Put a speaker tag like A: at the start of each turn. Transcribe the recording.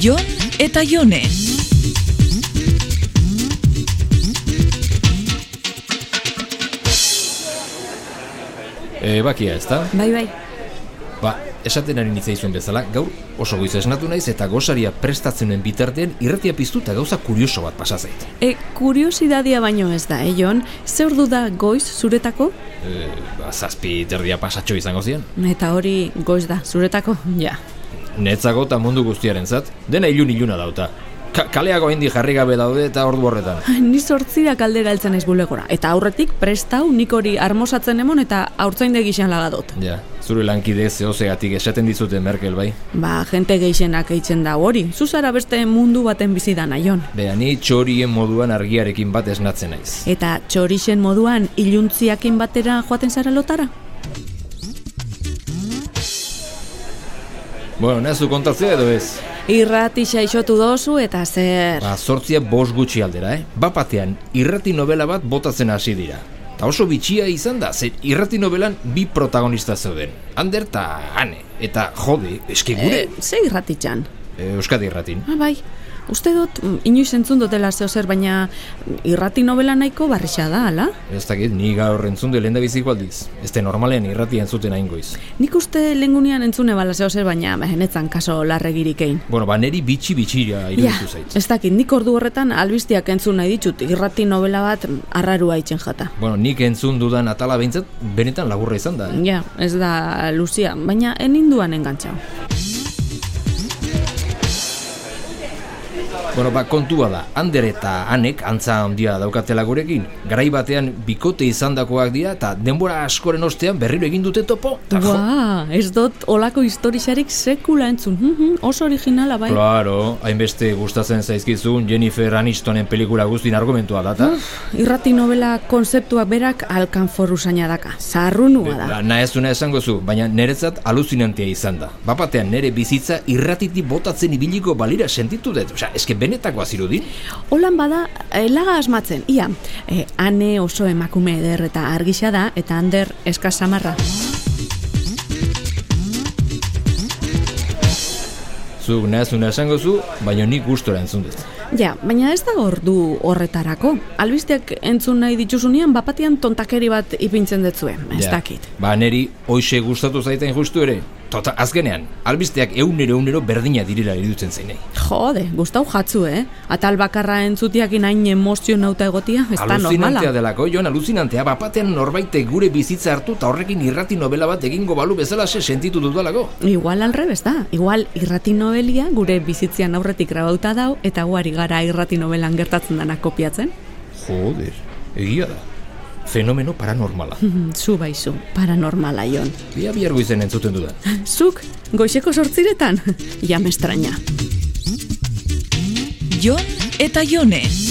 A: Jon eta Jone.
B: E, bakia ez da?
C: Bai, bai.
B: Ba, esaten ari nitzaizuen bezala, gaur oso goiz esnatu naiz eta gosaria prestatzenen bitartean irratia piztu eta gauza kurioso bat pasa zait.
C: E, kuriosidadia baino ez da, eion, ze ordu da goiz zuretako?
B: E, ba, zazpi terdia pasatxo izango ziren.
C: Eta hori goiz da, zuretako, ja.
B: Netzago eta mundu guztiaren zat, dena ilun iluna dauta. Ka kaleago hindi jarri gabe daude eta ordu horretan.
C: Ni sortzira kaldera heltzen naiz bulegora, eta aurretik prestau nik hori armosatzen emon eta haurtzainde gixen lagadot.
B: Ja, zure lankide zehozegatik esaten dizute Merkel bai.
C: Ba, jente geixenak eitzen da hori, zuzara beste mundu baten bizi da naion.
B: Bea, ni txorien moduan argiarekin bat esnatzen naiz.
C: Eta txorixen moduan iluntziakin batera joaten zara lotara?
B: Bueno, nazu kontatzea edo ez?
C: Irrati xaixotu dozu eta zer...
B: Ba, sortzia bos gutxi aldera, eh? Bapatean, irrati novela bat botatzen hasi dira. Ta oso bitxia izan da, zer irrati novelan bi protagonista zeuden. Ander eta Hane, eta jode, eski gure.
C: E, ze irratitxan?
B: E, Euskadi irratin.
C: Ah, bai, uste dut mm, inoiz entzun dutela zeo zer, baina irrati novela nahiko barrixa da, ala?
B: Ez dakit, ni gaur entzun de lenda biziko aldiz. Ez te normalean irrati entzuten hain goiz.
C: Nik uste lengunean entzune bala zeo zer, baina behenetzan kaso larregirik egin.
B: Bueno, ba, neri bitxi bitxira iruditu zait.
C: ez dakit, nik ordu horretan albistiak entzun nahi ditut, irrati novela bat mm, arrarua itxen jata.
B: Bueno, nik entzun dudan atala behintzat, benetan laburra izan da. eh?
C: Ja, ez da luzia, baina eninduan engantxau.
B: Bueno, ba, kontua da, Ander eta Anek antza handia daukatela gurekin. Garai batean bikote izandakoak dira eta denbora askoren ostean berriro egin dute topo. Ta jo,
C: Ba, ez dut olako historixarik sekula entzun, hm, hm, oso originala bai.
B: Claro, hainbeste gustatzen zaizkizun Jennifer Anistonen pelikula guztin argumentua data.
C: Hm, Irrati novela konzeptuak berak alkanfor usaina daka, zarrunua da.
B: Ba, nahi ez duena esango zu, baina niretzat aluzinantia izan da. Bapatean nire bizitza irratiti botatzen ibiliko balira sentitu dut. Osea, eske benetakoa zirudin?
C: Olan bada, elaga asmatzen, ia, e, ane oso emakume eder eta argisa da, eta ander eskasamarra.
B: Zu nahi ez duena esango zu, baina nik gustora entzun dut.
C: Ja, baina ez da ordu horretarako. Albisteak entzun nahi dituzunean, bapatian tontakeri bat ipintzen detzue, ez
B: Ja.
C: dakit.
B: Ba, neri hoxe gustatu zaiten justu ere. Tota, azkenean, albisteak eunero eunero berdina direla iruditzen zeinei.
C: Jode, gustau jatzu, eh? Atal bakarra entzutiak inain emozionauta egotia, ez da normala.
B: Aluzinantea delako, joan aluzinantea, bapatean norbaitek gure bizitza hartu eta horrekin irrati novela bat egingo balu bezala se sentitu dudalako.
C: Igual alrebez da, igual irrati novelia gure bizitzian aurretik grabauta dau eta guari gara irrati novelan gertatzen dana kopiatzen.
B: Joder, egia da. Fenomeno paranormala.
C: Hmm, Zu baizu, paranormala ion.
B: Bia bihargo izen entzuten dudan.
C: Zuk, goizeko sortziretan, ja me estraña.
A: Jon eta Jone.